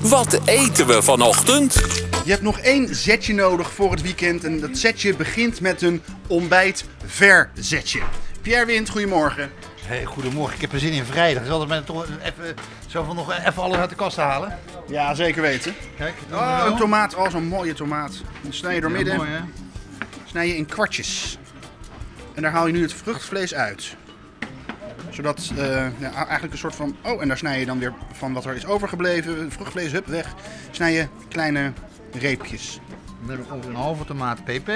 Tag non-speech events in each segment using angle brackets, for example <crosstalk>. Wat eten we vanochtend? Je hebt nog één zetje nodig voor het weekend. En dat zetje begint met een ontbijtverzetje. Pierre Wind, goedemorgen. Hey, goedemorgen, ik heb er zin in vrijdag. Zal het mij toch even, zo van nog even alles uit de kast halen? Ja, zeker weten. Kijk, doen we Oh, zo. een tomaat. Oh, zo'n mooie tomaat. Dan snij je door Ja, midden. mooi, hè? Snij je in kwartjes. En daar haal je nu het vruchtvlees uit. Zodat eh, ja, eigenlijk een soort van. Oh, en daar snij je dan weer van wat er is overgebleven. Vruchtvlees, hup, weg. Snij je kleine reepjes. Dan heb ik ongeveer een halve tomaat pp.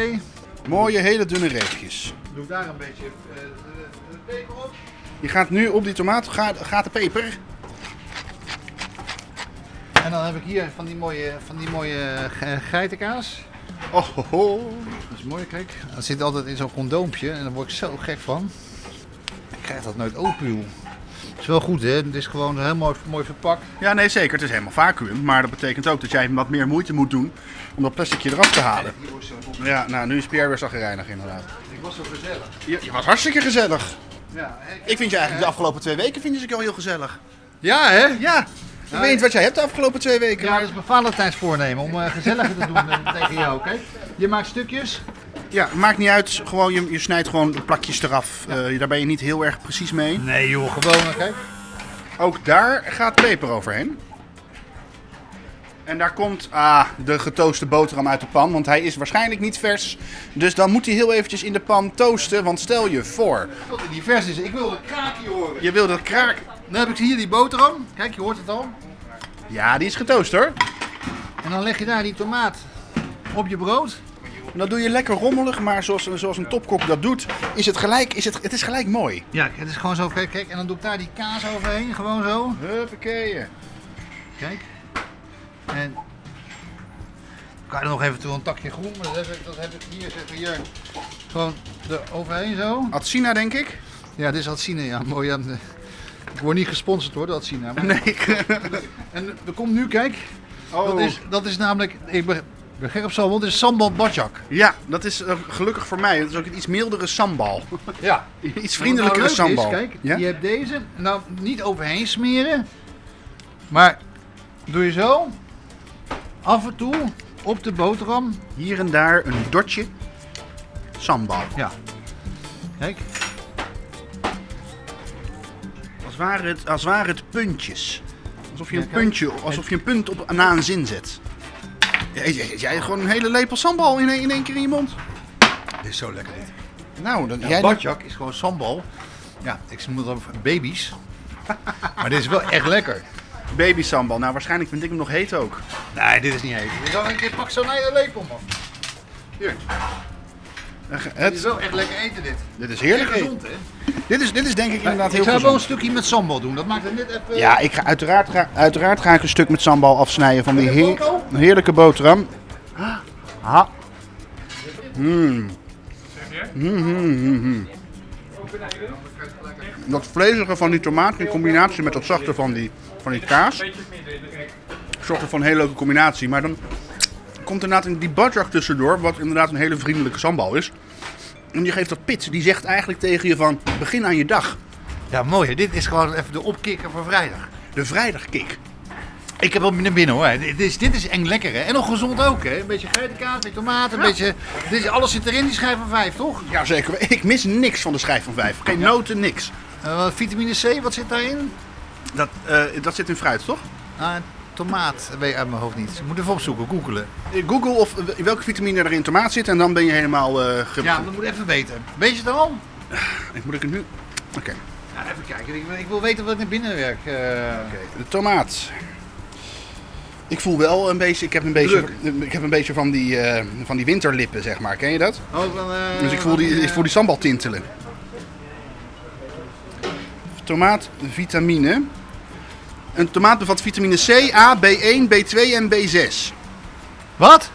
Mooie, hele dunne reepjes. Doe ik daar een beetje eh, eh, peper op. Je gaat nu op die tomaat, gaat, gaat de peper. En dan heb ik hier van die mooie, van die mooie eh, ge- geitenkaas. Oh, ho, ho. Dat is mooi, kijk. Dat zit altijd in zo'n condoompje en daar word ik zo gek van. Ik krijg dat nooit open, joh. Het is wel goed, hè? Het is gewoon heel mooi, mooi verpakt. Ja, nee, zeker. Het is helemaal vacuüm. Maar dat betekent ook dat jij wat meer moeite moet doen om dat plasticje eraf te halen. Hier wordt zo op. Ja, nou, nu is Pierre weer zagrijnig inderdaad. Ik was zo gezellig. Je, je was hartstikke gezellig. Ja, Ik vind je eigenlijk de afgelopen twee weken vind je ik al heel gezellig. Ja, hè? Ja, ik weet niet wat jij hebt de afgelopen twee weken. Ja, maar- dat is mijn Valentijns voornemen om eh, gezelliger te doen eh, tegen jou, kijk. Je maakt stukjes. ja maakt niet uit. Gewoon, je, je snijdt gewoon plakjes eraf. Eh, daar ben je niet heel erg precies mee. Nee joh, gewoon, eh, kijk. Ook daar gaat peper overheen. En daar komt ah, de getooste boterham uit de pan, want hij is waarschijnlijk niet vers. Dus dan moet hij heel eventjes in de pan toasten, want stel je voor, Wat in die vers is, ik wil een kraakje horen. je wil dat kraak... Dan heb ik hier die boterham, kijk je hoort het al. Ja, die is getoast hoor. En dan leg je daar die tomaat op je brood. En dat doe je lekker rommelig, maar zoals, zoals een topkok dat doet, is het gelijk, is het, het is gelijk mooi. Ja, het is gewoon zo, kijk, kijk. En dan doe ik daar die kaas overheen, gewoon zo. Huppakee. Kijk. En kan je er nog even toe een takje groen, maar dat heb ik, dat heb ik hier, zeg maar hier. Gewoon er overheen zo. Atsina, denk ik. Ja, dit is Atsine, ja, <laughs> mooi. ja. Ik word niet gesponsord hoor, dat Atsine. maar- Nee. <laughs> En er komt nu, kijk, Oh. dat, is, dat is namelijk, ik ben, ik ben gek op sambal, dit is sambal badjak. Ja, dat is eh, gelukkig voor mij. Dat is ook een iets mildere <laughs> sambal. Ja. Iets vriendelijkere sambal. nou kijk, ja? je hebt deze, nou niet overheen smeren, maar doe je zo, af en toe, op de boterham. Hier en daar een dotje sambal. Ja. Kijk, Als waren het, als waren het puntjes. Alsof je Ja, een kijk. puntje, alsof je een punt op, na een zin zet. Jij, jij, jij gewoon een hele lepel sambal in, één- in één keer in je mond. dit is zo lekker dit. Nou, dan, Ja, jij... badjak is gewoon sambal. Ja, ik noem dat baby's. maar dit is wel echt lekker. Baby sambal. Nou, waarschijnlijk vind ik hem nog heet ook. Nee, dit is niet heet. Je zou een keer pak zo'n hele lepel man. Hier, Eh, ge- dit Het, is wel echt lekker eten dit. dit is heerlijk. En gezond hè. Dit is, dit is denk ik inderdaad ik heel zou wel een gezond. stukje met sambal doen. Dat maakt het net even. Ja, ik ga uiteraard, ga, uiteraard ga ik een stuk met sambal afsnijden van die Met een heer- foto? heerlijke boterham. Ah. Mm. Mm, mm, mm, mm. Dat vlezige van die tomaat in combinatie met dat zachte van die, van die kaas. Zorgt er voor een hele leuke combinatie. Maar dan komt inderdaad in die badjak tussendoor, wat inderdaad een hele vriendelijke sambal is. En die geeft dat pit. Die zegt eigenlijk tegen je van begin aan je dag. ja mooi. hè. Dit is gewoon even de opkikker voor vrijdag. De vrijdagkick. Ik heb wel naar binnen hoor. Dit is, dit is eng lekker hè. En nog gezond ook hè. Een beetje geitenkaas, een beetje tomaten, een beetje. Dit is, alles zit erin, die schijf van vijf toch? Ja, zeker. Ik mis niks van de schijf van vijf. Geen noten, niks. Eh, vitamine C, wat zit daarin? Dat, eh, dat zit in fruit, toch? Ah, tomaat, dat weet ik uit mijn hoofd niet. Moet even opzoeken, googelen. Google of eh, welke vitamine er in tomaat zit en dan ben je helemaal... eh ge- Ja, dat moet even weten. Weet je het al? Ik Moet ik het nu... Oké. Ja, even kijken. Ik, wil- ik wil weten wat ik naar binnen werk. eh. Oké, De tomaat. Ik voel wel een beetje... Ik heb een beetje, ik heb een beetje van, die, eh, van die winterlippen, zeg maar. Ken je dat? Oh, dan, eh, Dus ik voel die, dan, eh, ik voel die sambal tintelen. Tomaat, vitamine. Een tomaat bevat vitamine C, A, B1, B2 en B6. Wat?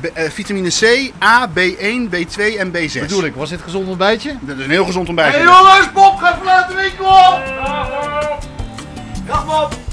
B- eh, vitamine C, A, B1, B2 en B6. Bedoel ik, was dit gezond ontbijtje? Dat is een heel gezond ontbijt. jongens, Bob, ga vanuit de winkel op! Dag Bob!